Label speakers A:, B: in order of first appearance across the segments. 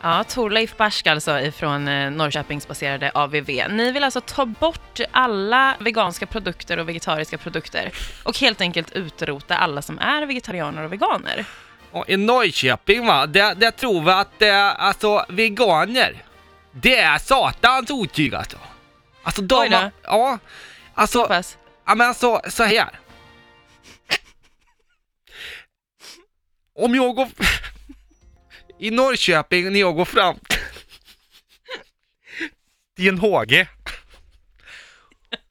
A: Ja, Torleif Barsk alltså ifrån eh, Norrköpingsbaserade AVV. Ni vill alltså ta bort alla veganska produkter och vegetariska produkter och helt enkelt utrota alla som är vegetarianer och veganer.
B: Och I Norrköping va, där, där tror vi att eh, alltså, veganer, det är satans otyg alltså. Alltså
A: Oj
B: de,
A: då.
B: ja, alltså,
A: Hoppas.
B: ja men alltså så här. Om jag går, i Norrköping när jag går fram till en hage,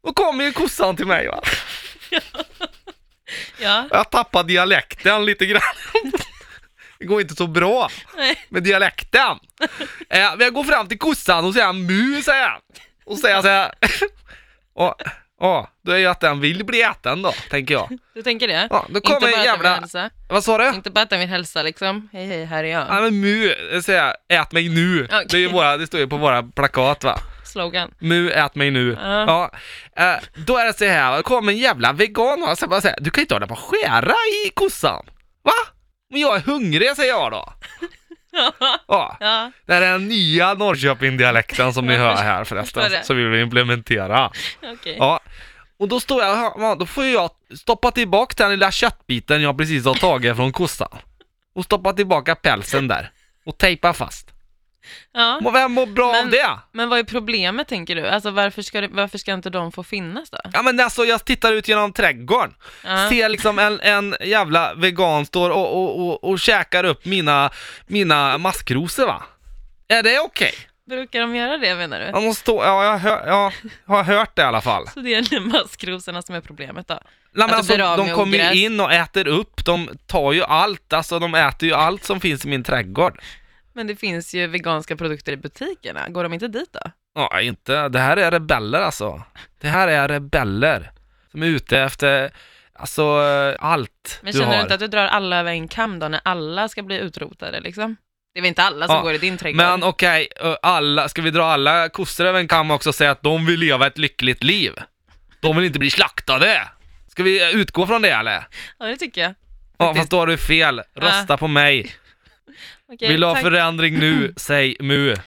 B: då kommer ju kossan till mig va.
A: Ja,
B: Jag tappar dialekten lite grann. Det går inte så bra
A: nej.
B: med dialekten. Eh, men jag går fram till kossan och säger mu, säger jag. Och säger så här. Ja, ja, då är ju att den vill bli äten då, tänker jag.
A: Du tänker det?
B: Ja, då
A: inte
B: kommer
A: bara att
B: en
A: den vill
B: jävla...
A: hälsa.
B: Vad sa du?
A: Inte bara att den vill hälsa liksom. Hej, hej, här är jag.
B: Ja men mu, eh, säger jag, ät mig nu.
A: Okej.
B: Det, är ju våra, det står ju på våra plakat va.
A: Slogan.
B: Mu, ät mig nu.
A: Ja.
B: Ja. Eh, då är det så här, det kommer en jävla vegan och så bara säger, du kan ju inte hålla på och skära i kossan. Va? Men jag är hungrig säger jag då. Ja.
A: Ja,
B: Det här är den nya Norrköping-dialekten som ni
A: Jag
B: hör
A: förstår-
B: här
A: förstår det.
B: förresten, som vi vill implementera.
A: okej.
B: Ja. Och då står jag här, ja, då får jag stoppa tillbaka den lilla köttbiten jag precis har tagit från kossan. Och stoppa tillbaka pälsen där. Och tejpa fast.
A: Ja.
B: Men Vem mår bra
A: Men-
B: av det?
A: Men vad är problemet tänker du? Alltså varför ska, det, varför ska inte de få finnas då?
B: Ja men alltså jag tittar ut genom trädgården.
A: Ja.
B: Ser liksom en, en jävla vegan står och, och, och, och käkar upp mina, mina maskrosor va? Är det okej?
A: Brukar de göra det menar du?
B: Ja, de står- Ja, jag hör, ja, har hört det i alla fall.
A: Så det är maskrosorna som är problemet då?
B: Nej, men
A: Att de blir
B: alltså,
A: av
B: de
A: med
B: kommer
A: ogräs.
B: ju in och äter upp, de tar ju allt, alltså de äter ju allt som finns i min trädgård.
A: Men det finns ju veganska produkter i butikerna, går de inte dit då?
B: Ja, inte, det här är rebeller alltså. Det här är rebeller som är ute efter, alltså eh, allt
A: Men
B: du
A: känner
B: har.
A: du inte att du drar alla över en kam då, när alla ska bli utrotade liksom? Det är väl inte alla som
B: Ja,
A: går i din trädgård?
B: Men okej, ö, alla, ska vi dra alla kossor över en kam också och säga att de vill leva ett lyckligt liv? De vill inte bli slaktade! Ska vi eh, utgå från det eller?
A: Ja, det tycker jag.
B: Ja,
A: Faktiskt.
B: fast då har du fel. Rösta på mig.
A: Okej,
B: Vill du ha
A: tack.
B: förändring nu? Säg mu.